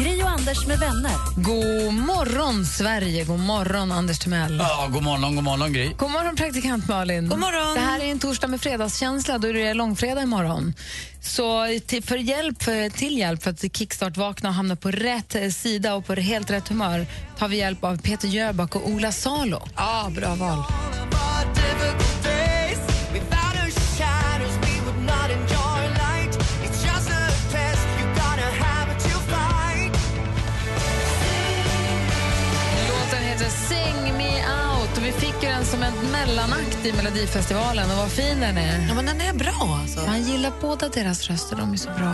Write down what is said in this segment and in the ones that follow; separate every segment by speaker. Speaker 1: Gri och Anders med vänner.
Speaker 2: God morgon, Sverige. God morgon, Anders Timell.
Speaker 3: Ja, god morgon, god morgon Gry.
Speaker 2: God morgon, praktikant Malin. God morgon. Det här är en torsdag med fredagskänsla. Då är det långfredag imorgon. Så till, för hjälp, för, till hjälp för att kickstart-vakna och hamna på rätt eh, sida och på helt rätt humör tar vi hjälp av Peter Jöback och Ola Salo.
Speaker 4: Ja, bra val.
Speaker 2: Låten heter Sing Me Out och vi fick ju den som en mellanakt i Melodifestivalen. Och vad fin den är.
Speaker 4: Ja, men den är bra alltså.
Speaker 2: Man gillar båda deras röster. De är så bra.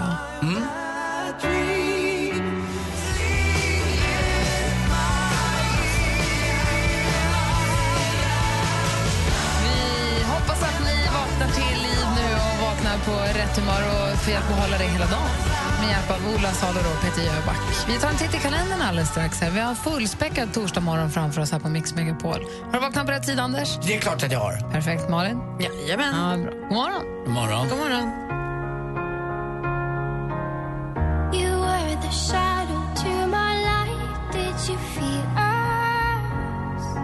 Speaker 2: Vi hoppas att ni vaknar till liv nu och vaknar på rätt humör och får hjälp att hålla det hela dagen med hjälp av Ola Salo och Peter Jöback. Vi tar en titt i kalendern alldeles strax. Här. Vi har en fullspäckad torsdag morgon framför oss här på Mix Megapol. Har du vaknat på rätt tid, Anders?
Speaker 3: Det är klart att jag har.
Speaker 2: Perfekt. Malin?
Speaker 4: Jajamän.
Speaker 2: Ja, bra. God morgon.
Speaker 3: God morgon.
Speaker 4: God morgon.
Speaker 5: You were the shadow to my light. Did you feel us?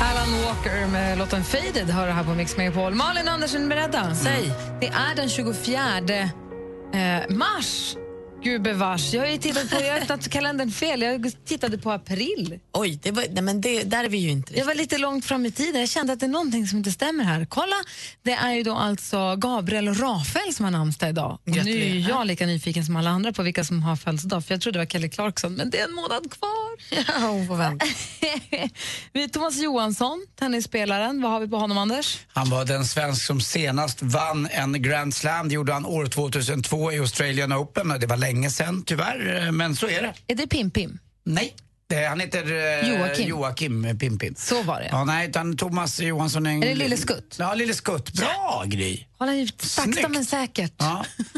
Speaker 2: Alan Walker med låten Faded hör du här på Mix Megapol. Malin Andersen, är ni beredda?
Speaker 4: Säg.
Speaker 2: Det är den 24 eh, mars. Gubevars. Jag har ju tittat på, jag har tagit kalendern fel. Jag tittade på april.
Speaker 4: Oj, det var, nej, men det, där är vi ju inte
Speaker 2: Jag
Speaker 4: riktigt.
Speaker 2: var lite långt fram i tiden. Jag kände att det är någonting som inte stämmer här. Kolla, det är ju då alltså Gabriel Rafael som har namnsdag idag. Och nu är ju
Speaker 4: Gratulerar.
Speaker 2: jag lika nyfiken som alla andra på vilka som har födelsedag, för jag trodde det var Kelly Clarkson, men det är en månad kvar.
Speaker 4: Ja, hon får vänta.
Speaker 2: vi Thomas Johansson, tennisspelaren. Vad har vi på honom, Anders?
Speaker 3: Han var den svensk som senast vann en Grand Slam. Det gjorde han år 2002 i Australian Open. Det var länge sedan tyvärr, eh, men så är det.
Speaker 2: Är det Pim-Pim?
Speaker 3: Nej, det, han heter eh,
Speaker 2: Joakim.
Speaker 3: Joakim Pimpin.
Speaker 2: Så var det.
Speaker 3: Ja, nej, utan Thomas Johansson är en...
Speaker 2: Är det Lille Skutt?
Speaker 3: Ja, Lille Skutt. Bra Gry!
Speaker 2: Kolla, sakta
Speaker 3: Snyggt.
Speaker 2: men säkert.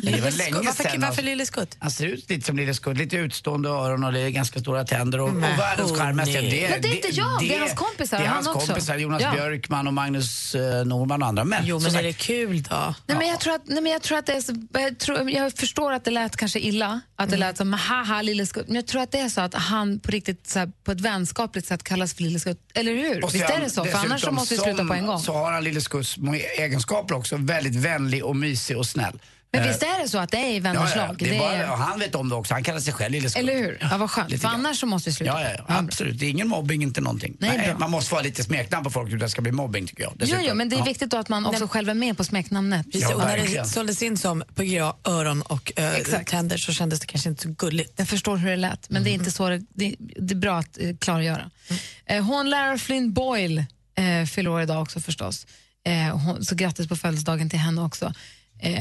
Speaker 3: Ja, det var länge
Speaker 4: varför,
Speaker 3: sedan.
Speaker 4: varför
Speaker 3: alltså.
Speaker 4: Lille Skutt?
Speaker 3: Han ser ut lite som Lille Skutt, lite utstående öron och det är ganska stora tänder och, och
Speaker 4: Men
Speaker 3: världens
Speaker 4: hörni.
Speaker 3: charmigaste.
Speaker 2: Men det är inte jag, det är hans kompisar,
Speaker 3: Det är
Speaker 2: han
Speaker 3: hans
Speaker 2: också.
Speaker 3: kompisar, Jonas
Speaker 2: Ja.
Speaker 3: Björkman och Magnus eh, Norman och andra. Men,
Speaker 4: Jo,
Speaker 3: som
Speaker 4: men är det kul då?
Speaker 2: Nej, men jag, tror att, nej, men jag tror att det är så, jag, tror, jag förstår att det lät kanske illa, att
Speaker 3: Mm.
Speaker 2: det lät som haha lille skutt, men jag tror att det är så att han på riktigt så här, på ett vänskapligt sätt kallas för lille skutt, eller hur?
Speaker 3: Och
Speaker 2: Visst
Speaker 3: sen
Speaker 2: är det så? För
Speaker 3: dessutom
Speaker 2: annars så måste vi sluta
Speaker 3: som-
Speaker 2: på en gång.
Speaker 3: Så har han Lille Skutts må- egenskaper också, väldigt vänlig och mysig och snäll.
Speaker 2: Men
Speaker 3: Eh,
Speaker 2: visst är det så att det är i
Speaker 3: ja,
Speaker 2: vänners
Speaker 3: ja,
Speaker 2: lag?
Speaker 3: det är
Speaker 2: Det
Speaker 3: bara,
Speaker 2: är-
Speaker 3: och han vet om det också, han kallar sig själv Lille Skutt.
Speaker 2: Eller hur? Ja, vad skönt,
Speaker 3: lite
Speaker 2: för
Speaker 3: grann.
Speaker 2: annars så måste vi sluta.
Speaker 3: Ja, ja, ja, absolut. Det är ingen mobbing, inte någonting.
Speaker 2: Nej, bra.
Speaker 3: man måste vara lite smeknamn på folk utan att det ska bli mobbing tycker jag.
Speaker 2: Jo,
Speaker 3: dessutom.
Speaker 2: jo, men det är
Speaker 3: Ja.
Speaker 2: viktigt då att man också själv är med på smeknamnet.
Speaker 4: Precis,
Speaker 3: Ja,
Speaker 4: och när det
Speaker 3: verkligen.
Speaker 4: såldes in som på grå öron och ö,
Speaker 2: Exakt.
Speaker 4: tänder så kändes det kanske inte så gulligt.
Speaker 2: Jag förstår hur det lät, men det är inte så det, det, det är bra att eh, klargöra. Eh, Hånlärare Flynn Boyle eh, fyller år idag också förstås. Eh, hon, så grattis på födelsedagen till henne också. Eh,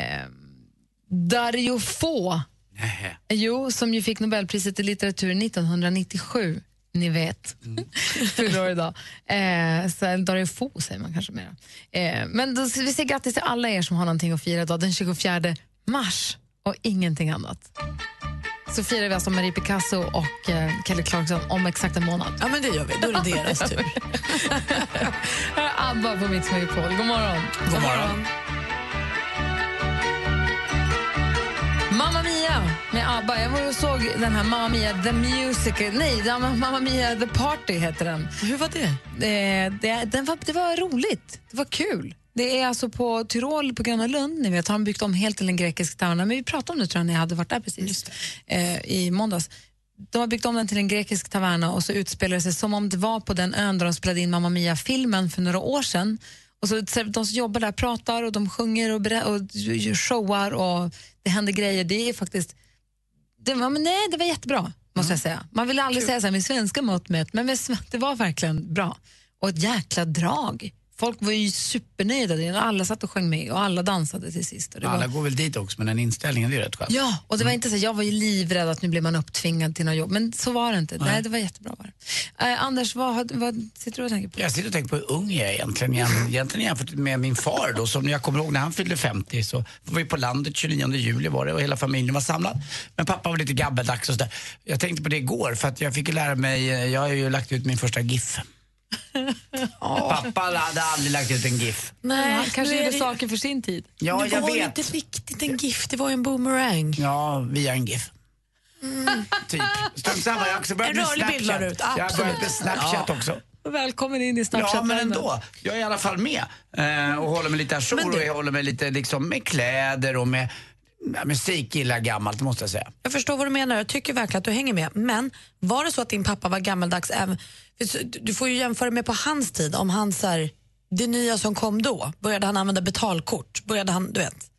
Speaker 2: Dario Fo,
Speaker 3: Nähä.
Speaker 2: jo, som ju fick Nobelpriset i litteratur 1997, ni vet,
Speaker 4: Mm.
Speaker 2: fyller år idag. Eh, så Dario Fo säger man kanske mer. Eh, men då, vi säger grattis till alla er som har någonting att fira idag, den 24 mars och ingenting annat så firar vi alltså Marie Picasso och eh, Kelly Clarkson om exakt en månad.
Speaker 4: Ja, men det gör vi. Då är det deras tur.
Speaker 2: Här är ABBA på Mix Megapol. God morgon!
Speaker 3: God morgon.
Speaker 2: Mamma Mia med ABBA. Jag var och såg den här Mamma Mia The Music... Nej, den- Mamma Mia The Party heter den.
Speaker 4: Hur var det?
Speaker 2: Eh, det, den var, det var roligt. Det var kul. Det är alltså på Tyrol på Gröna Lund, ni vet, har de byggt om helt till en grekisk taverna. Men vi pratade om det tror jag när jag hade varit där precis eh, i måndags. De har byggt om den till en grekisk taverna och så utspelar det sig som om det var på den ön där de spelade in Mamma Mia-filmen för några år sedan. Och så, de som jobbar där pratar och de sjunger och, berä- och showar och det händer grejer. Det är faktiskt det var, men nej, det var jättebra, måste
Speaker 3: Mm.
Speaker 2: jag säga. Man vill aldrig säga så här med svenska mått mätt, men med, sven- det var verkligen bra. Och ett jäkla drag. Folk var ju supernöjda. Det- Alla satt och sjöng med och alla dansade till sist. Och det
Speaker 3: Alla
Speaker 2: var,
Speaker 3: går väl dit också, men den inställningen det är ju rätt skönt.
Speaker 2: ja, och det var inte så, jag var ju livrädd att nu blir man upptvingad till något jobb. Men så var det inte. Nej, det var jättebra. Var det. Eh, Anders, vad, har- vad sitter du och tänker på?
Speaker 3: Jag sitter och tänker på hur ung jag är egentligen, jäm- egentligen jämfört med min far då, som jag kommer ihåg när han fyllde 50 så var vi på landet 29 juli var det och hela familjen var samlad. Men pappa var lite gabbeldags och sådär. Jag tänkte på det igår för att jag fick ju lära mig, eh, jag har ju lagt ut min första GIF. Pappa hade aldrig lagt ut en GIF.
Speaker 2: Nej, han
Speaker 4: nu
Speaker 2: kanske
Speaker 4: är
Speaker 2: gjorde
Speaker 4: det-
Speaker 2: saker för sin tid.
Speaker 3: Ja,
Speaker 4: det
Speaker 3: jag
Speaker 4: var ju
Speaker 3: vet.
Speaker 4: inte riktigt en GIF, det var ju en boomerang.
Speaker 3: Ja, via en GIF. Typ. Strunt samma, jag har också börjat
Speaker 4: Mm. En
Speaker 3: med
Speaker 4: rörlig bild la du ut,
Speaker 3: Snapchat. Jag har börjat med Snapchat också.
Speaker 2: Välkommen in i
Speaker 3: Ja,
Speaker 2: Snapchat.
Speaker 3: men ändå. Jag är i alla fall med eh, och håller mig lite ajour
Speaker 4: Men
Speaker 3: och
Speaker 4: du-
Speaker 3: jag håller mig lite liksom med kläder och med ja, musik gillar jag gammalt måste jag säga.
Speaker 4: Jag förstår vad du menar, jag tycker verkligen att du hänger med. Men var det så att din pappa var gammaldags även... för så- Du får ju jämföra med på hans tid, om han så här, det nya som kom då, började han använda betalkort? Började han, du vet,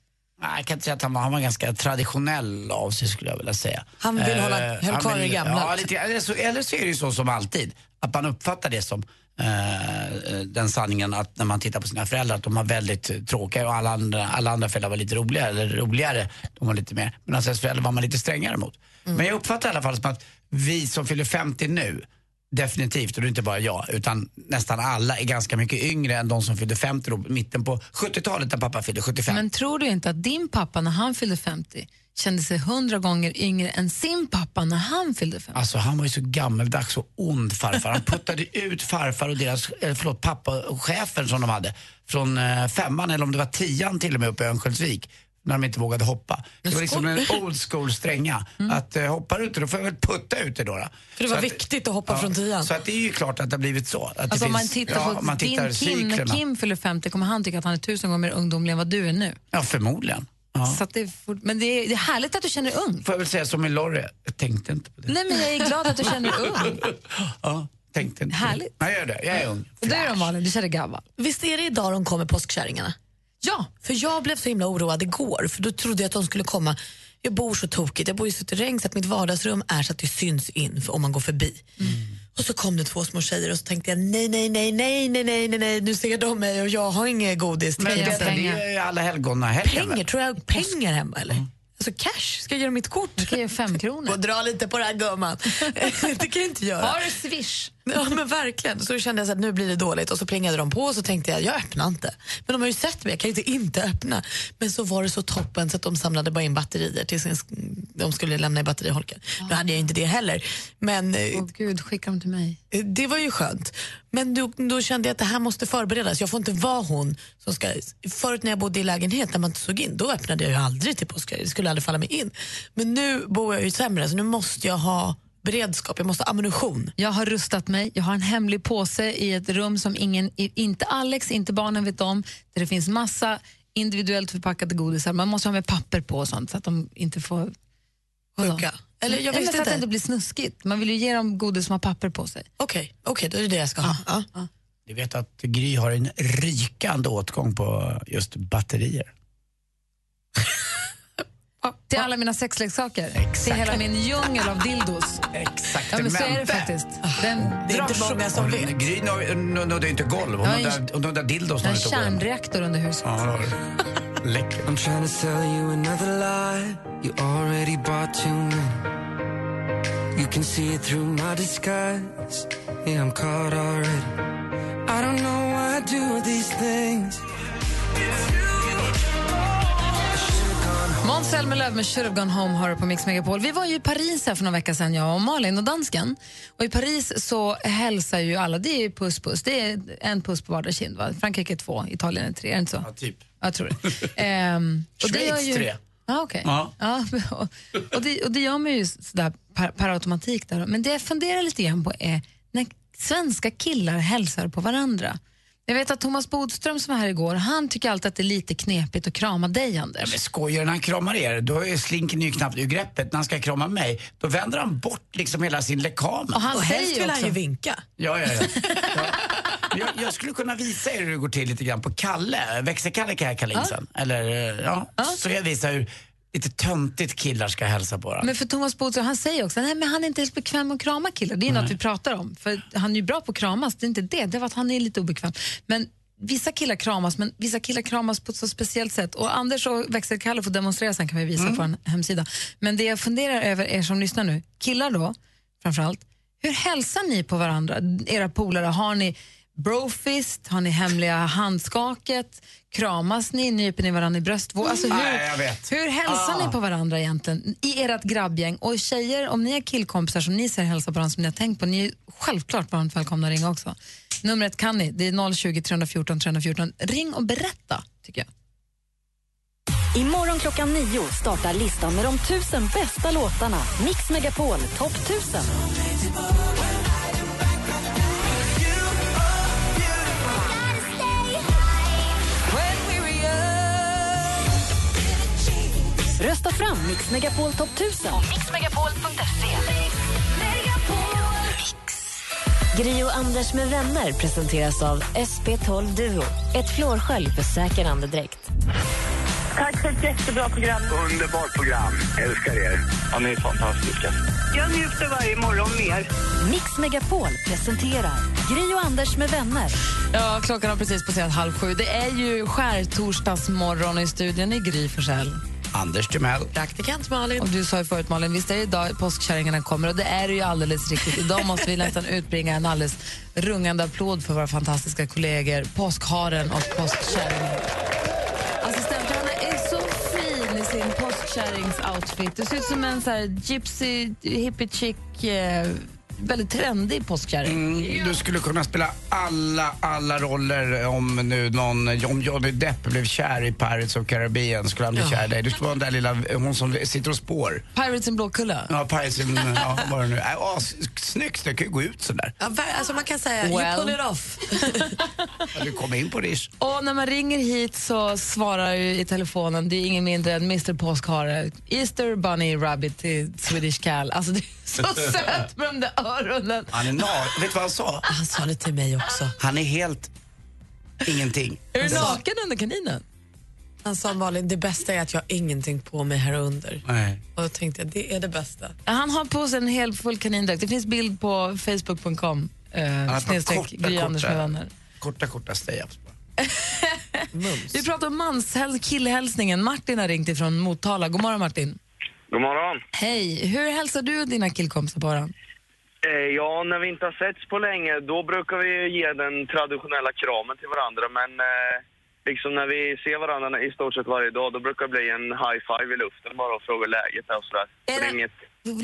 Speaker 3: Nej, jag kan inte säga att han var, han var ganska traditionell av sig skulle jag vilja säga.
Speaker 4: Han vill
Speaker 3: Eh,
Speaker 4: hålla- höll
Speaker 3: han
Speaker 4: kvar i det gamla.
Speaker 3: Ja, lite, eller, så, eller så är det ju så som alltid, att man uppfattar det som eh, eh, den sanningen att när man tittar på sina föräldrar att de var väldigt eh, tråkiga och alla andra, alla andra föräldrar var lite roligare, eller roligare, de var lite mer, men ens föräldrar var man lite strängare mot.
Speaker 4: Mm.
Speaker 3: Men jag uppfattar i alla fall som att vi som fyller 50 nu, definitivt, och det är inte bara jag, utan nästan alla är ganska mycket yngre än de som fyllde 50 då, mitten på 70-talet när pappa fyllde 75.
Speaker 2: Men tror du inte att din pappa när han fyllde 50 kände sig hundra gånger yngre än sin pappa när han fyllde 50?
Speaker 3: Alltså han var ju så gammeldags och ond farfar. Han puttade ut farfar och deras, eh, förlåt pappa och chefen som de hade. Från eh, femman eller om det var tian till och med uppe i Örnsköldsvik. När de inte vågade hoppa. Det var liksom en old school stränga.
Speaker 2: Mm.
Speaker 3: Att eh, hoppar du inte då får jag väl putta ut dig då. då.
Speaker 4: För det var viktigt att hoppa från tian.
Speaker 3: Så att det är ju klart att det har blivit så. Att
Speaker 2: Alltså
Speaker 3: det
Speaker 2: om man
Speaker 3: finns-
Speaker 2: tittar
Speaker 3: ja,
Speaker 2: på
Speaker 3: om man tittar
Speaker 2: din Kim, när
Speaker 3: cyklerna.
Speaker 2: Kim fyller 50 kommer han tycka att han är tusen gånger mer ungdomlig än vad du är nu.
Speaker 3: Ja, förmodligen. Ja.
Speaker 2: Så att det är fort, men det är, det är härligt att du känner dig ung.
Speaker 3: Får jag väl säga som med Lorry, jag tänkte inte på det.
Speaker 2: Nej men jag är glad att du känner dig ung.
Speaker 3: Ja, tänkte inte. på det.
Speaker 2: Härligt.
Speaker 3: Ja, Jag gör det, jag är ung.
Speaker 2: Och det är de Malin, du känner dig gammal.
Speaker 4: Visst är det idag de kommer påskkärringarna?
Speaker 2: Ja,
Speaker 4: För jag blev så himla oroad igår, för då trodde jag att de skulle komma. Jag bor så tokigt, jag bor i suterräng så att mitt vardagsrum är så att det syns in för om man går förbi. Och så kom det två små tjejer och så tänkte jag nej, nej, nej, nej, nej, nej, nej, nej. nu ser de mig och jag har inget godis.
Speaker 3: Men
Speaker 4: Tänk
Speaker 2: jag
Speaker 3: detta,
Speaker 4: jag
Speaker 3: det
Speaker 2: pengar.
Speaker 3: är ju alla helgona-helgen.
Speaker 4: pengar, tror jag pengar hemma eller? Alltså cash, ska jag göra mitt kort?
Speaker 2: du kan ju fem kronor.
Speaker 4: Gå och dra lite på den här gumman. det kan jag inte göra.
Speaker 2: Har du swish?
Speaker 4: Ja men verkligen. Så kände jag så att nu blir det dåligt och så plingade de på och så tänkte jag, jag öppnar inte. Men de har ju sett mig, jag kan ju inte inte öppna. Men så var det så toppen så att de samlade bara in batterier tills de skulle lämna i batteriholken. Nu hade jag inte det heller. Men eh,
Speaker 2: Åh gud, skicka dem till mig.
Speaker 4: det var ju skönt. Men då, då kände jag att det här måste förberedas. Jag får inte vara hon som ska... Förut när jag bodde i lägenhet där man inte såg in, då öppnade jag ju aldrig till påskhelg. Det skulle aldrig falla mig in. Men nu bor jag ju sämre så nu måste jag ha beredskap, jag måste ha ammunition.
Speaker 2: Jag har rustat mig, jag har en hemlig påse i ett rum som ingen, i- inte Alex, inte barnen vet om, där det finns massa individuellt förpackade godisar. Man måste ha med papper på och sånt så att de inte får... Vadå?
Speaker 4: Sjuka. Eller jag
Speaker 2: Nej, men
Speaker 4: visste
Speaker 2: så att det
Speaker 4: inte.
Speaker 2: inte blir snuskigt. Man vill ju ge dem godis som har papper på sig.
Speaker 4: Okej, okej, då är det det jag ska ha. Ja.
Speaker 3: Du vet att Gry har en rykande åtgång på just batterier.
Speaker 2: Till alla mina sexleksaker. Till hela min djungel av dildos.
Speaker 3: Exakt.
Speaker 2: Ja, men så är det faktiskt. Den
Speaker 4: Ah, Det är
Speaker 2: drar
Speaker 4: inte
Speaker 2: så-
Speaker 4: många som vet.
Speaker 3: Gry når- n- nådde ju inte golv. Hon
Speaker 2: Jag är en-
Speaker 3: nådde- hon nådde dildos.
Speaker 2: Jag
Speaker 3: när
Speaker 2: har
Speaker 3: hon
Speaker 2: en
Speaker 3: inte går.
Speaker 2: kärnreaktor under huset.
Speaker 4: Ah.
Speaker 3: Ja, det var det. Läckert.
Speaker 6: I'm trying to sell you another lie. You already bought too many. You can see it through my disguise. Yeah, I'm caught already. I don't know why I do these things.
Speaker 2: Måns Zelmerlöw med Should have gone home har du på Mix Megapol. Vi var ju i Paris här för några veckor sedan, jag och Malin och dansken. Och I Paris så hälsar ju alla, det är ju puss puss. Det är en puss på vardera kind. Va? Frankrike är två, Italien är tre, är det inte så?
Speaker 3: Ja, typ.
Speaker 2: Jag tror det. Ehm, gör
Speaker 3: Schweiz tre.
Speaker 2: Ja, okej.
Speaker 3: Ja.
Speaker 2: Ja. och- och, det, och det gör man ju sådär per, per automatik. Där. Men det jag funderar lite grann på är när svenska killar hälsar på varandra. Jag vet att Thomas Bodström som var här igår, han tycker alltid att det är lite knepigt att krama dig, Anders.
Speaker 3: Men skojar när han kramar er, då är slinker ni ju knappt ur greppet. När han ska krama mig, då vänder han bort liksom hela sin lekamen.
Speaker 2: Och han
Speaker 4: Och
Speaker 2: säger
Speaker 4: helst
Speaker 2: ju
Speaker 4: vill
Speaker 2: också,
Speaker 4: han ju vinka.
Speaker 3: Ja, ja, ja. ja. Men Jag, jag skulle kunna visa er hur det går till lite grann på Kalle, växelkalle kan jag kalla in sen. Eller, eh, ja. Så jag visar hur lite töntigt killar ska hälsa på varandra.
Speaker 2: Men för Thomas Bodström, han säger också nej, men han är inte ens bekväm med att krama killar. Det är något vi pratar om. För han är ju bra på att kramas, det är inte det. Det var att han är lite obekväm. Men vissa killar kramas, men vissa killar kramas på ett så speciellt sätt. Och Anders och växelkalle får demonstrera sen kan vi visa på en hemsida. Men det jag funderar över, er som lyssnar nu, killar då framförallt, hur hälsar ni på varandra, era polare? Har ni brofist, har ni hemliga handskaket, kramas ni, nyper ni varandra i bröstvår? Alltså hur,
Speaker 3: Nej, jag vet. Ah.
Speaker 2: hur hälsar ni på varandra egentligen i ert grabbgäng? Och tjejer, om ni har killkompisar som ni ser hälsa på varandra som ni har tänkt på, ni är ju självklart varmt välkomna att ringa också. Numret kan ni, det är 020 314 314. Ring och berätta, tycker jag.
Speaker 1: Imorgon klockan nio startar listan med de tusen bästa låtarna. Mix Megapol topp 1000. Rösta fram Mix Megapol topp 1000 på mixmegapol.se. Gri och Anders med vänner presenteras av SP12 Duo. Ett flårskölj för säker andedräkt.
Speaker 7: Tack för ett jättebra program.
Speaker 8: Underbart program. Älskar er. Ja, ni är fantastiska.
Speaker 7: Jag njuter varje morgon mer.
Speaker 1: Mix Megapol presenterar Gri och Anders med vänner.
Speaker 2: Ja, klockan har precis passerat halv sju. Det är ju skärtorsdagsmorgon och i studion i Gry Forssell.
Speaker 3: Anders Timell.
Speaker 4: Praktikant Malin.
Speaker 2: Och du sa ju förut Malin, visst är det idag påskkärringarna kommer och det är det ju alldeles riktigt. Idag måste vi nästan utbringa en alldeles rungande applåd för våra fantastiska kollegor påskharen och påskkärringen. Assistent Johanna är så fin i sin påskkärringsoutfit. Det ser ut som en så här gypsy, hippie chick, eh, väldigt trendig påskkärring.
Speaker 3: Mm, du skulle kunna spela alla, alla roller om nu någon, om Johnny Depp blev kär i Pirates of Caribbean skulle han bli kär i dig. Du skulle vara den där lilla, hon som sitter och spår.
Speaker 2: Pirates in Blåkulla.
Speaker 3: Ja, Pirates, in- ja, vad det nu är. Ja, s- snyggt, det kan ju gå ut sådär.
Speaker 4: Ja, ver- alltså man kan säga,
Speaker 2: Well.
Speaker 4: you pull it off.
Speaker 3: Ja, Du kom in på Rish.
Speaker 2: Och när man ringer hit så svarar ju i telefonen, det är ingen mindre än Mr Påskhare, Easter Bunny Rabbit till Swedish Cal. Alltså det är så söt med de där öronen.
Speaker 3: Han är naken. Vet du vad han sa?
Speaker 4: Ah, Han sa det till mig också.
Speaker 3: Han är helt ingenting.
Speaker 2: Är du naken under kaninen?
Speaker 4: Han sa Malin, det bästa är att jag har ingenting på mig här under.
Speaker 3: Nej.
Speaker 4: Och då tänkte jag, det är det bästa.
Speaker 2: Han har på sig en hel full kanindräkt. Det finns bild på facebook.com eh,
Speaker 3: har
Speaker 2: snedstreck
Speaker 3: korta,
Speaker 2: Gry Anders med
Speaker 3: korta-
Speaker 2: vänner.
Speaker 3: Korta, korta stay-ups bara.
Speaker 2: Vi pratar om manshäl- killhälsningen. Martin har ringt ifrån Motala. God morgon Martin.
Speaker 8: God morgon.
Speaker 2: Hej, hur hälsar du dina killkompisar på varandra?
Speaker 8: Eh, ja, när vi inte har setts på länge, då brukar vi ju ge den traditionella kramen till varandra. Men eh, liksom när vi ser varandra i stort sett varje dag, då brukar det bli en high-five i luften bara och fråga läget och sådär. Så
Speaker 2: Är
Speaker 8: det
Speaker 2: det-
Speaker 8: är inget...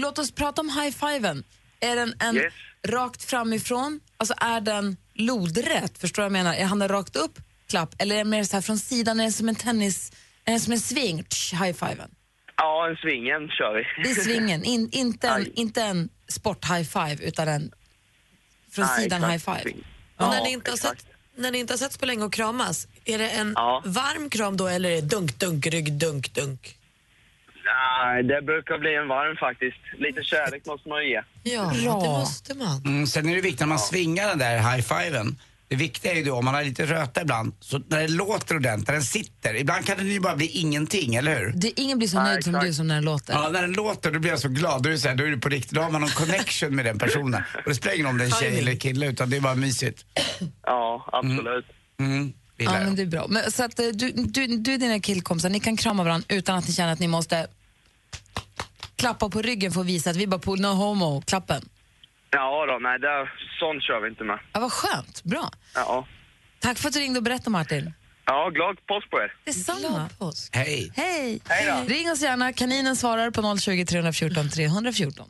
Speaker 2: Låt oss prata om high-fiven. Är den en
Speaker 8: Yes.
Speaker 2: rakt framifrån? Alltså är den lodrätt? Förstår du vad jag menar? Är han där rakt upp, klapp? Eller är den mer så här från sidan? Är den som en tennis... Är den som en sving? Tsch, High-fiven.
Speaker 8: Ja, en svingen kör vi.
Speaker 2: I svingen. In, inte, en,
Speaker 8: Aj.
Speaker 2: inte en sport-high-five, utan en från
Speaker 8: Nej,
Speaker 2: sidan
Speaker 8: exakt.
Speaker 2: high-five.
Speaker 8: Sving.
Speaker 4: Och när,
Speaker 8: Ja,
Speaker 4: ni inte har
Speaker 8: exakt.
Speaker 4: sett, när ni inte har setts på länge och kramas, är det en
Speaker 8: Ja.
Speaker 4: varm kram då eller är det dunk, dunk, rygg, dunk, dunk?
Speaker 8: Nej, det brukar bli en varm faktiskt. Lite kärlek måste man ju ge.
Speaker 4: Ja, det måste man.
Speaker 3: Mm, sen är det viktigt när man svingar den där high-fiven. Det viktiga är ju då, om man har lite röta ibland, så när det låter ordentligt, när den sitter. Ibland kan den ju bara bli ingenting, eller hur?
Speaker 2: Det, ingen blir så
Speaker 8: Nej,
Speaker 2: nöjd som
Speaker 8: exakt.
Speaker 2: du som när den låter.
Speaker 3: Ja, när den låter då blir jag så glad. Då är det, så här, då är det på riktigt. Då har man någon connection med den personen. Och det spelar ingen roll om det är en tjej eller kille, utan det är bara mysigt.
Speaker 8: Ja,
Speaker 9: alltså,
Speaker 8: absolut.
Speaker 3: Mm, det
Speaker 2: Ja,
Speaker 3: gillar
Speaker 2: men
Speaker 3: jag.
Speaker 2: det är bra. Men, så att eh, du, du, du och dina killkompisar, ni kan krama varandra utan att ni känner att ni måste klappa på ryggen för att visa att vi bara på no homo, klappen.
Speaker 8: Ja då, nej, det, sånt kör vi inte med.
Speaker 2: Ja, vad skönt, bra.
Speaker 8: Ja,
Speaker 2: Tack för att du ringde och berättade Martin.
Speaker 8: ja glad påsk på er.
Speaker 2: Detsamma.
Speaker 3: Hej.
Speaker 2: Hej.
Speaker 8: Hej då.
Speaker 2: Ring oss gärna, kaninen svarar på 020 314 314.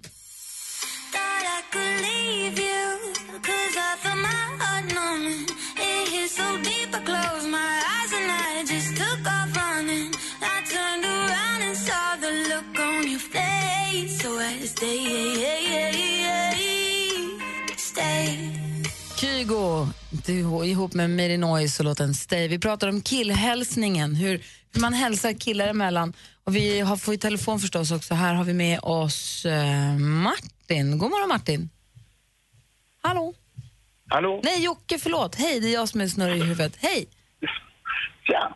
Speaker 2: Kygo du, ihop med Mary Noise och låten Stay. Vi pratar om killhälsningen, hur, hur man hälsar killar emellan. Och vi har fått telefon förstås också. Här har vi med oss eh, Martin. God morgon Martin. Hallå?
Speaker 8: Hallå?
Speaker 2: Nej, Jocke, förlåt. Hej, det är jag som är snurrig i huvudet. Hej!
Speaker 8: Tja!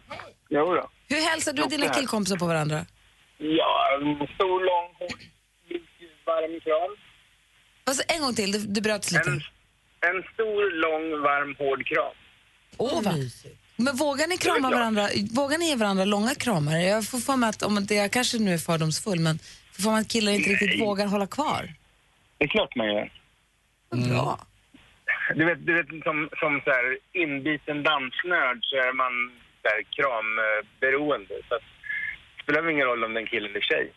Speaker 8: Jo då.
Speaker 2: Hur hälsar du dina
Speaker 8: här.
Speaker 2: killkompisar på varandra?
Speaker 8: Ja, en stor, lång, hård, mjuk, varm kram.
Speaker 2: Alltså, en gång till, det, det bröts lite.
Speaker 8: En, en stor, lång, varm, hård kram.
Speaker 2: Åh, vad mysigt. Men vågar ni krama varandra, vågar ni ge varandra långa kramar? Jag får för mig att, om det, jag kanske nu är fördomsfull, men får för mig att killar inte riktigt vågar hålla kvar.
Speaker 9: Det är klart man gör.
Speaker 2: Bra.
Speaker 9: Du vet, du vet som, som så här inbiten dansnörd så är man så här kramberoende. Så att, det spelar väl ingen roll om det är en kille eller tjej.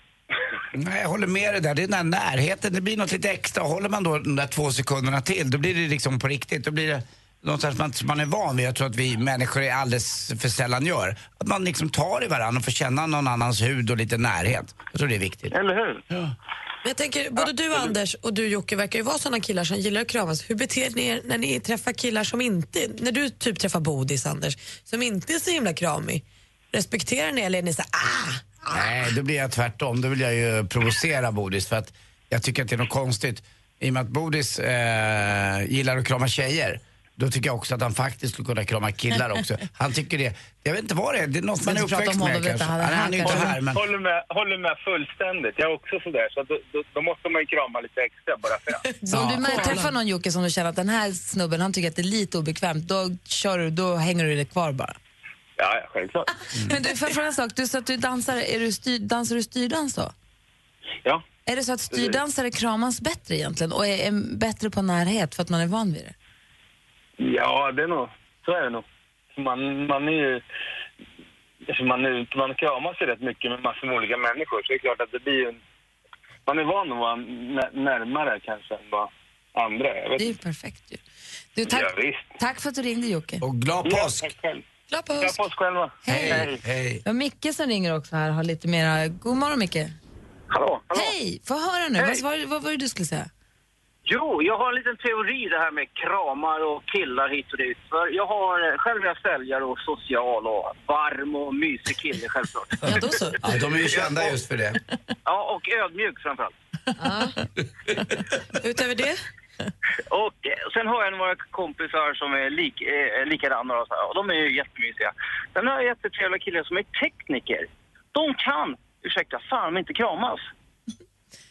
Speaker 3: Nej, jag håller med dig där. Det är den här närheten. Det blir något lite extra. Håller man då de där två sekunderna till, då blir det liksom på riktigt. Då blir det någonstans man, som man är van vid. Jag tror att vi människor är alldeles för sällan gör. Att man liksom tar i varandra och får känna någon annans hud och lite närhet. Jag tror det är viktigt.
Speaker 9: Eller hur?
Speaker 3: Ja.
Speaker 4: Men jag tänker, både du Anders och du Jocke verkar ju vara sådana killar som gillar att kramas. Hur beter ni er när ni träffar killar som inte, när du typ träffar Bodis Anders, som inte är så himla kramig? Respekterar ni eller är ni så här, ah?
Speaker 3: Nej, då blir jag tvärtom. Då vill jag ju provocera Bodis för att jag tycker att det är något konstigt. I och med att Bodis eh, gillar att krama tjejer, då tycker jag också att han faktiskt skulle kunna krama killar också. Han tycker det. Jag vet inte vad det är. Det är något
Speaker 9: Ska
Speaker 3: man är
Speaker 9: inte prata
Speaker 3: uppväxt
Speaker 9: om
Speaker 3: med
Speaker 9: honom,
Speaker 3: kanske.
Speaker 9: vet du,
Speaker 3: Han, han är ju inte här men...
Speaker 9: håller, med, håller med fullständigt. Jag är också sådär. Så att då, då, då måste man ju krama lite extra bara för att.
Speaker 2: Så om du mär- träffar någon Jocke som du känner att den här snubben han tycker att det är lite obekvämt, då, kör du, då hänger du dig kvar bara.
Speaker 9: Ja, ja, självklart.
Speaker 2: Men du, får jag fråga en sak? Du sa att du dansar, är du styr, dansar du styrdans då?
Speaker 9: Ja.
Speaker 2: Är det så att styrdansare kramas bättre egentligen och är, är bättre på närhet för att man är van vid det?
Speaker 9: Ja, det är nog. Så är det nog. Man, man är ju... alltså Man, är, man kramas ju rätt mycket med massor med olika människor, så det är klart att det blir ju en... Man är van att vara nä- närmare kanske än vad andra är. Jag vet
Speaker 2: Det är ju
Speaker 9: inte.
Speaker 2: perfekt ju. Du, tack,
Speaker 9: Ja, visst.
Speaker 2: tack för att du ringde Jocke.
Speaker 3: Och glad påsk!
Speaker 9: Ja, tack själv.
Speaker 2: Glad påsk.
Speaker 9: Glad påsk själva.
Speaker 3: Hej! Hej!
Speaker 2: Ja, Micke som ringer också här har lite mera... God morgon Micke.
Speaker 10: Hallå, hallå.
Speaker 2: Hej! Få höra nu,
Speaker 10: Hej.
Speaker 2: vad, var- vad var det du skulle säga?
Speaker 10: Jo, jag har en liten teori det här med kramar och killar hit och dit. För jag har, eh, själv är jag säljare och social och varm och mysig kille självklart.
Speaker 3: Ja, de är ju kända just för det.
Speaker 10: Ja, och ödmjuk framförallt.
Speaker 4: Utöver det?
Speaker 10: Och eh, sen har jag några kompisar som är lik, eh, likadana och, så här, och de är ju jättemysiga. Sen har jag jättetrevliga killar som är tekniker. De kan, ursäkta, fan inte kramas.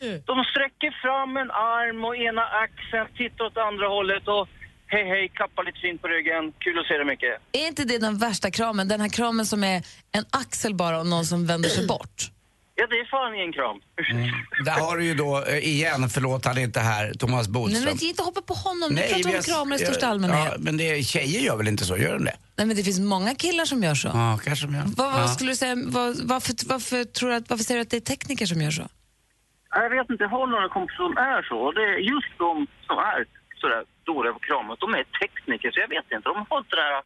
Speaker 2: Mm.
Speaker 10: De sträcker fram en arm och ena axeln, tittar åt andra hållet och hej hej, klappar lite fint på ryggen. Kul att se dig mycket.
Speaker 2: Är inte det den värsta kramen? Den här kramen som är en axel bara och någon som vänder sig bort.
Speaker 10: Ja, det är fan ingen kram.
Speaker 3: Mm. Där har du ju då, eh, igen, förlåt han är inte här, Thomas
Speaker 2: Nej,
Speaker 3: Bodström.
Speaker 2: men inte hoppa på honom, nu
Speaker 3: vi
Speaker 2: pratar vi om
Speaker 3: har-
Speaker 2: kramar i
Speaker 3: ja,
Speaker 2: största allmänhet.
Speaker 3: Ja, men det, tjejer gör väl inte så, gör de det?
Speaker 2: Nej, men det finns många killar som gör så.
Speaker 3: Ja, kanske de gör.
Speaker 2: Vad, vad
Speaker 3: ja.
Speaker 2: skulle du säga, vad, varför, varför, tror du att, varför säger du att det är tekniker som gör så?
Speaker 10: Jag vet inte, jag har några kompisar som är så. Och Det är just de som är sådär dåliga på kramat, de är tekniker. Så jag vet inte, de har inte den här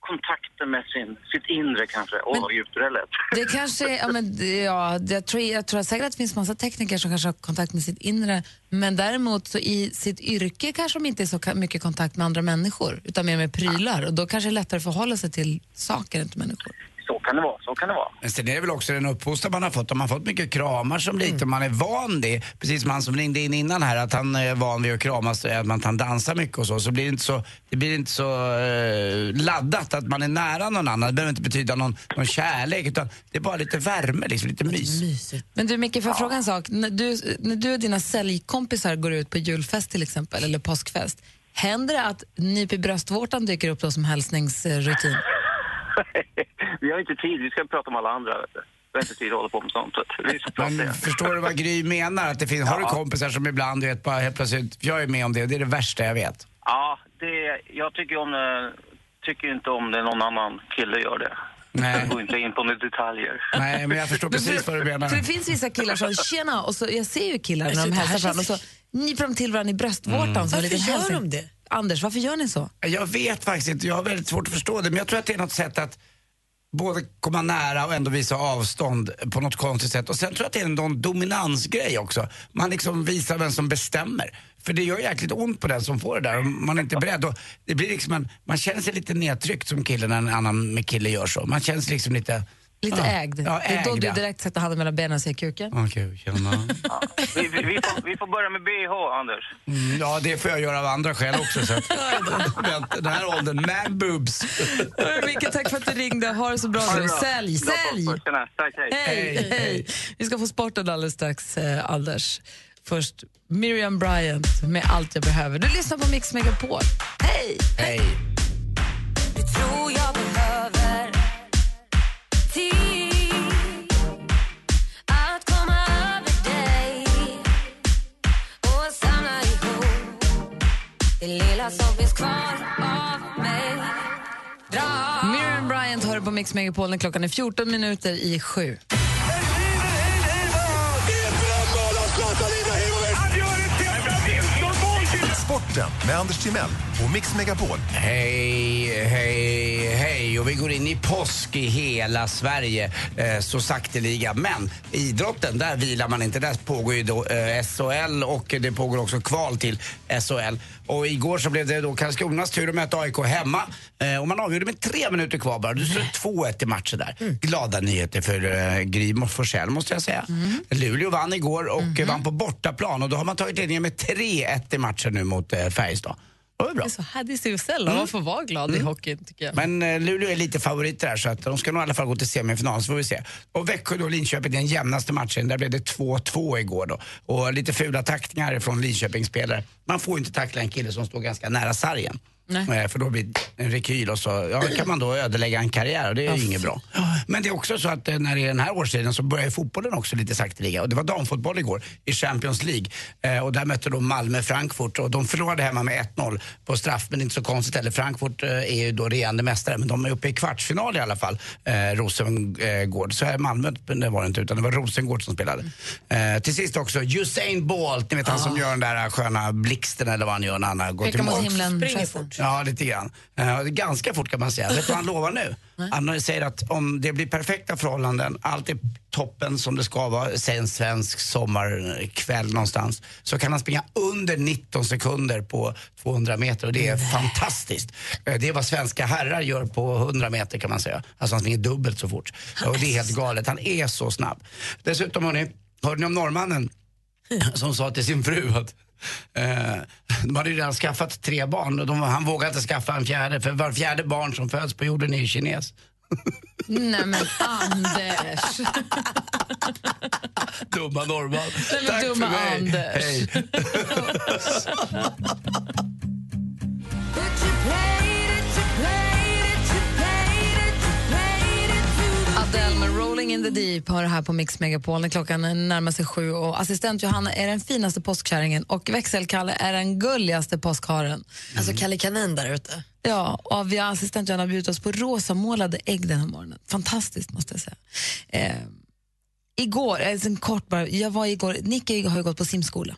Speaker 10: kontakten med sin, sitt inre kanske. Åh, vad djupt det där lät.
Speaker 2: Det kanske, är- ja, men, det- ja, det- jag, tror, jag tror säkert att det finns massa tekniker som kanske har kontakt med sitt inre, men däremot så i sitt yrke kanske de inte är så ka- mycket kontakt med andra människor, utan mer med prylar och då kanske det är lättare att förhålla sig till saker än till människor.
Speaker 10: Så kan det vara, så kan det vara.
Speaker 3: Men sen är det väl också den uppfostran man har fått. Om man har fått mycket kramar som liten,
Speaker 10: Mm.
Speaker 3: man är van det. Precis som han som ringde in innan här, att han är van vid att kramas, eh, att man kan dansa mycket och så. Så blir det inte så, det blir inte så eh, laddat att man är nära någon annan. Det behöver inte betyda någon, någon kärlek, utan det är bara lite värme, liksom, lite mys.
Speaker 2: Men du Micke, får jag fråga en sak? När du, när du och dina säljkompisar går ut på julfest till exempel, eller påskfest, händer det att nyp i bröstvårtan dyker upp då som hälsningsrutin?
Speaker 10: Vi har inte tid, vi ska prata om alla andra. Vet du. Vi har inte tid att hålla på med sånt. vet du. Vi ska prata
Speaker 3: Men
Speaker 10: igen.
Speaker 3: förstår du vad Gry menar? Att det finns, Har du kompisar som ibland, du vet, bara helt plötsligt, jag är med om det, det är det värsta jag vet.
Speaker 10: Ja, det, jag tycker, om, eh, tycker inte om det någon annan kille gör det.
Speaker 3: Nej.
Speaker 10: Jag går inte typ in på några detaljer.
Speaker 3: Nej, men jag förstår precis vad du menar.
Speaker 2: För det finns vissa killar som tjena, och så, jag ser ju killar
Speaker 3: Alltså,
Speaker 2: när de hälsar fram och så nyper de till varandra i bröstvårtan.
Speaker 3: Mm.
Speaker 2: som en
Speaker 3: Varför
Speaker 2: liten
Speaker 3: gör
Speaker 2: hälsning.
Speaker 3: de det?
Speaker 2: Anders, varför gör ni så?
Speaker 3: Jag vet faktiskt inte, jag har väldigt svårt att förstå det. Men jag tror att det är något sätt att både komma nära och ändå visa avstånd på något konstigt sätt. Och sen tror jag att det är någon dominansgrej också. Man liksom visar vem som bestämmer. För det gör jäkligt ont på den som får det där om man är inte är beredd. Och det blir liksom en, man känner sig lite nedtryckt som kille när en annan med kille gör så. Man känner sig liksom lite...
Speaker 2: Lite
Speaker 3: ja,
Speaker 2: ägd.
Speaker 3: Ja,
Speaker 2: Det är då
Speaker 3: ägd,
Speaker 2: du
Speaker 3: ja.
Speaker 2: direkt sätter handen mellan benen och säger kuken.
Speaker 3: Okej, tjena.
Speaker 10: Vi, vi, vi, får, vi får börja med BH, Anders.
Speaker 3: Mm, ja, det får jag göra av andra skäl också. Så att, Vänta, den här åldern, man boobs.
Speaker 2: Micke, tack för att du ringde. Ha det så bra.
Speaker 3: Ha det
Speaker 2: nu.
Speaker 3: bra.
Speaker 2: Sälj,
Speaker 3: Bra
Speaker 2: sälj!
Speaker 3: påsk, tjena. Tack, hej.
Speaker 2: Hej,
Speaker 3: Hej,
Speaker 2: hej.
Speaker 3: hej.
Speaker 2: Vi ska få sporten alldeles strax, eh, Anders. Först Miriam Bryant med Allt jag behöver. Du lyssnar på Mix Megapol. Hej!
Speaker 3: Hej!
Speaker 11: lilla som finns kvar av mig. Dra.
Speaker 2: Miriam Bryant hör på Mix Megapol när klockan är 14 minuter i sju.
Speaker 12: Sporten med Anders Timell och Mix Megapol.
Speaker 3: Hej, hej, hej. Och vi går in i påsk i hela Sverige, eh, så sakteliga. Men idrotten, där vilar man inte. Där pågår ju då eh, SHL och det pågår också kval till SHL. Och igår så blev det då Karlskronas tur att möta AIK hemma. Eh, och man avgjorde med tre minuter kvar bara. Det stod 2-1 i matchen där. Glada nyheter för eh, Gry Forssell, måste jag säga. Mm. Luleå vann igår och eh, vann på bortaplan. Och då har man tagit ledningen med 3-1 i matchen nu mot eh, Färjestad. Det var bra.
Speaker 2: Så Hadi Susel,
Speaker 3: Mm.
Speaker 2: man får vara glad i
Speaker 3: Mm.
Speaker 2: hockeyn tycker jag.
Speaker 3: Men eh, Luleå är lite favoriter här så att de ska nog i alla fall gå till semifinal så får vi se. Och Växjö då, Linköping, den jämnaste matchen. Där blev det 2-2 igår då. Och lite fula tacklingar från Linköpingsspelare. Man får ju inte tackla en kille som står ganska nära sargen.
Speaker 2: Nej.
Speaker 3: Eh, För då blir det en rekyl och så ja, kan man då ödelägga en karriär och det är ju inget bra. Men det är också så att eh, när det är den här årstiden så börjar ju fotbollen också lite sakteliga. Och det var damfotboll igår i Champions League. Eh, och där mötte då Malmö Frankfurt och de förlorade hemma med 1-0 på straff. Men det är inte så konstigt heller. Frankfurt eh, är ju då regerande mästare men de är uppe i kvartsfinal i alla fall. Eh, Rosengård. Så här Malmö det var det inte utan det var Rosengård som spelade. Eh, till sist också Usain Bolt, ni vet han som gör den där eh, sköna blixten eller vad han gör när han går
Speaker 2: Pekar
Speaker 3: till
Speaker 2: mot
Speaker 3: mål.
Speaker 2: himlen, Springer gesten. fort.
Speaker 3: Ja, lite grann. Eh, och det är ganska fort kan man säga. Vet du vad han lovar nu? Han säger att om det blir perfekta förhållanden, allt är toppen som det ska vara, säg en svensk sommarkväll någonstans, så kan han springa under 19 sekunder på 200 meter och det är fantastiskt. Eh, Det är vad svenska herrar gör på 100 meter kan man säga. Alltså han springer dubbelt så fort. Och det är helt galet. Han är så snabb. Dessutom hörni, hörde ni om norrmannen? som sa till sin fru att eh, de hade ju redan skaffat tre barn och de, han vågade inte skaffa en fjärde för var fjärde barn som föds på jorden är ju kines.
Speaker 2: Nej men Anders!
Speaker 3: Dumma norrman.
Speaker 2: Nej, men
Speaker 3: Tack
Speaker 2: dumma
Speaker 3: för mig.
Speaker 2: Anders.
Speaker 3: Hej.
Speaker 2: Adele med Rolling in the deep har det här på Mix Megapol när klockan närmar sig sju och assistent Johanna är den finaste påskkärringen och växelkalle är den gulligaste påskharen.
Speaker 3: Mm.
Speaker 2: Alltså Kalle Kanin där ute. Ja, och vi har assistent Johanna bjudit oss på rosamålade ägg den här morgonen. Fantastiskt måste jag säga. Eh, igår, alltså en kort bara, jag var igår, Nicky har ju gått på simskola.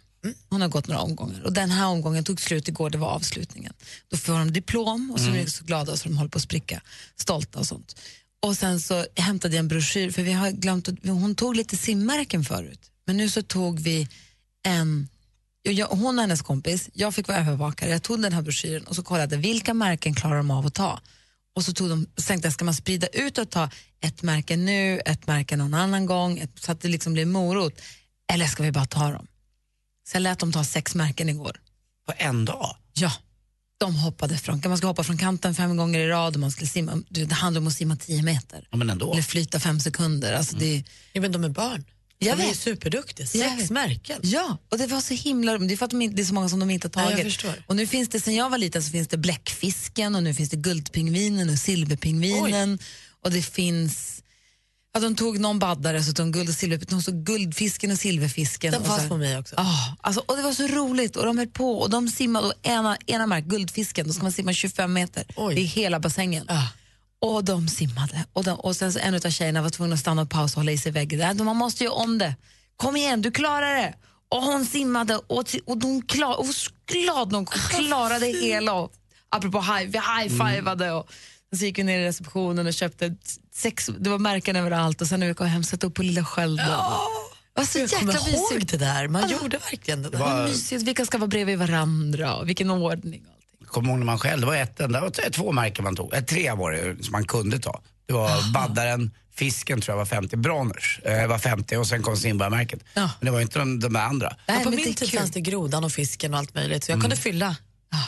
Speaker 2: Hon har gått några omgångar och den här omgången tog slut igår, det var avslutningen. Då får de diplom och så är de så glada så de håller på att spricka, stolta och sånt. Och sen så hämtade jag en broschyr, för vi har glömt att, hon tog lite simmärken förut. Men nu så tog vi en, jag- jag, hon och hennes kompis, jag fick vara övervakare, jag tog den här broschyren och så kollade vilka märken klarar de av att ta. Och så tog de, så tänkte jag, ska man sprida ut och ta ett märke nu, ett märke någon annan gång, ett, så att det liksom blir morot? Eller ska vi bara ta dem? Så jag lät dem ta sex märken igår.
Speaker 3: På en dag?
Speaker 2: Ja. De hoppade från, man ska hoppa från kanten fem gånger i rad och man skulle simma, du, det handlar om att simma tio meter.
Speaker 3: Ja, men ändå.
Speaker 2: Eller flyta fem sekunder. Alltså det, ja, men de är barn. Jag
Speaker 4: De är
Speaker 2: vet.
Speaker 4: superduktiga.
Speaker 2: Jag
Speaker 4: Sex
Speaker 2: vet.
Speaker 4: märken.
Speaker 2: Ja, och det var så himla Det är för att de inte, det är så många som de inte har
Speaker 4: Ja, jag
Speaker 2: tagit.
Speaker 4: förstår.
Speaker 2: Och nu finns det, sen jag var liten så finns det bläckfisken och nu finns det guldpingvinen och silverpingvinen. Och det finns, ja, de tog någon baddare så tog de guld och silver, de tog guldfisken och silverfisken.
Speaker 4: Den
Speaker 2: och så
Speaker 4: fanns
Speaker 2: här.
Speaker 4: på mig också.
Speaker 2: Ja, alltså, och det var så roligt och de höll på och de simmade och ena, ena mark, guldfisken, då ska man simma 25 meter i hela bassängen. Och de simmade. Och, de, och sen så en av tjejerna var tvungen att stanna och pausa och hålla i sig i väggen. Nej, Man måste göra om det. Kom igen, du klarar det. Och hon simmade och, ti- och hon klar, och var så glad när hon klarade hela. Och, apropå high, vi high-fivade. Och, sen så gick vi ner i receptionen och köpte sex, det var märken överallt och sen när vi kom hem satte upp på lilla skölden. Det var så
Speaker 4: Jag
Speaker 2: jäkla
Speaker 4: kommer ihåg
Speaker 2: mysigt.
Speaker 4: det där. Man gjorde
Speaker 2: verkligen
Speaker 4: det
Speaker 2: Det
Speaker 4: där.
Speaker 2: var mysigt. Vilka ska vara bredvid varandra och vilken ordning.
Speaker 3: Kommer ihåg när man själv, det var ett enda, det var t- två märken man tog, Eh, tre var det som man kunde ta. Det
Speaker 2: Ah.
Speaker 3: var baddaren, fisken tror jag var 50, Bronners eh, var 50 och sen kom simbarmärket. Men det var ju inte de, de där andra.
Speaker 4: Ja, på min tid fanns det grodan och fisken och allt möjligt så jag
Speaker 3: Mm.
Speaker 4: kunde fylla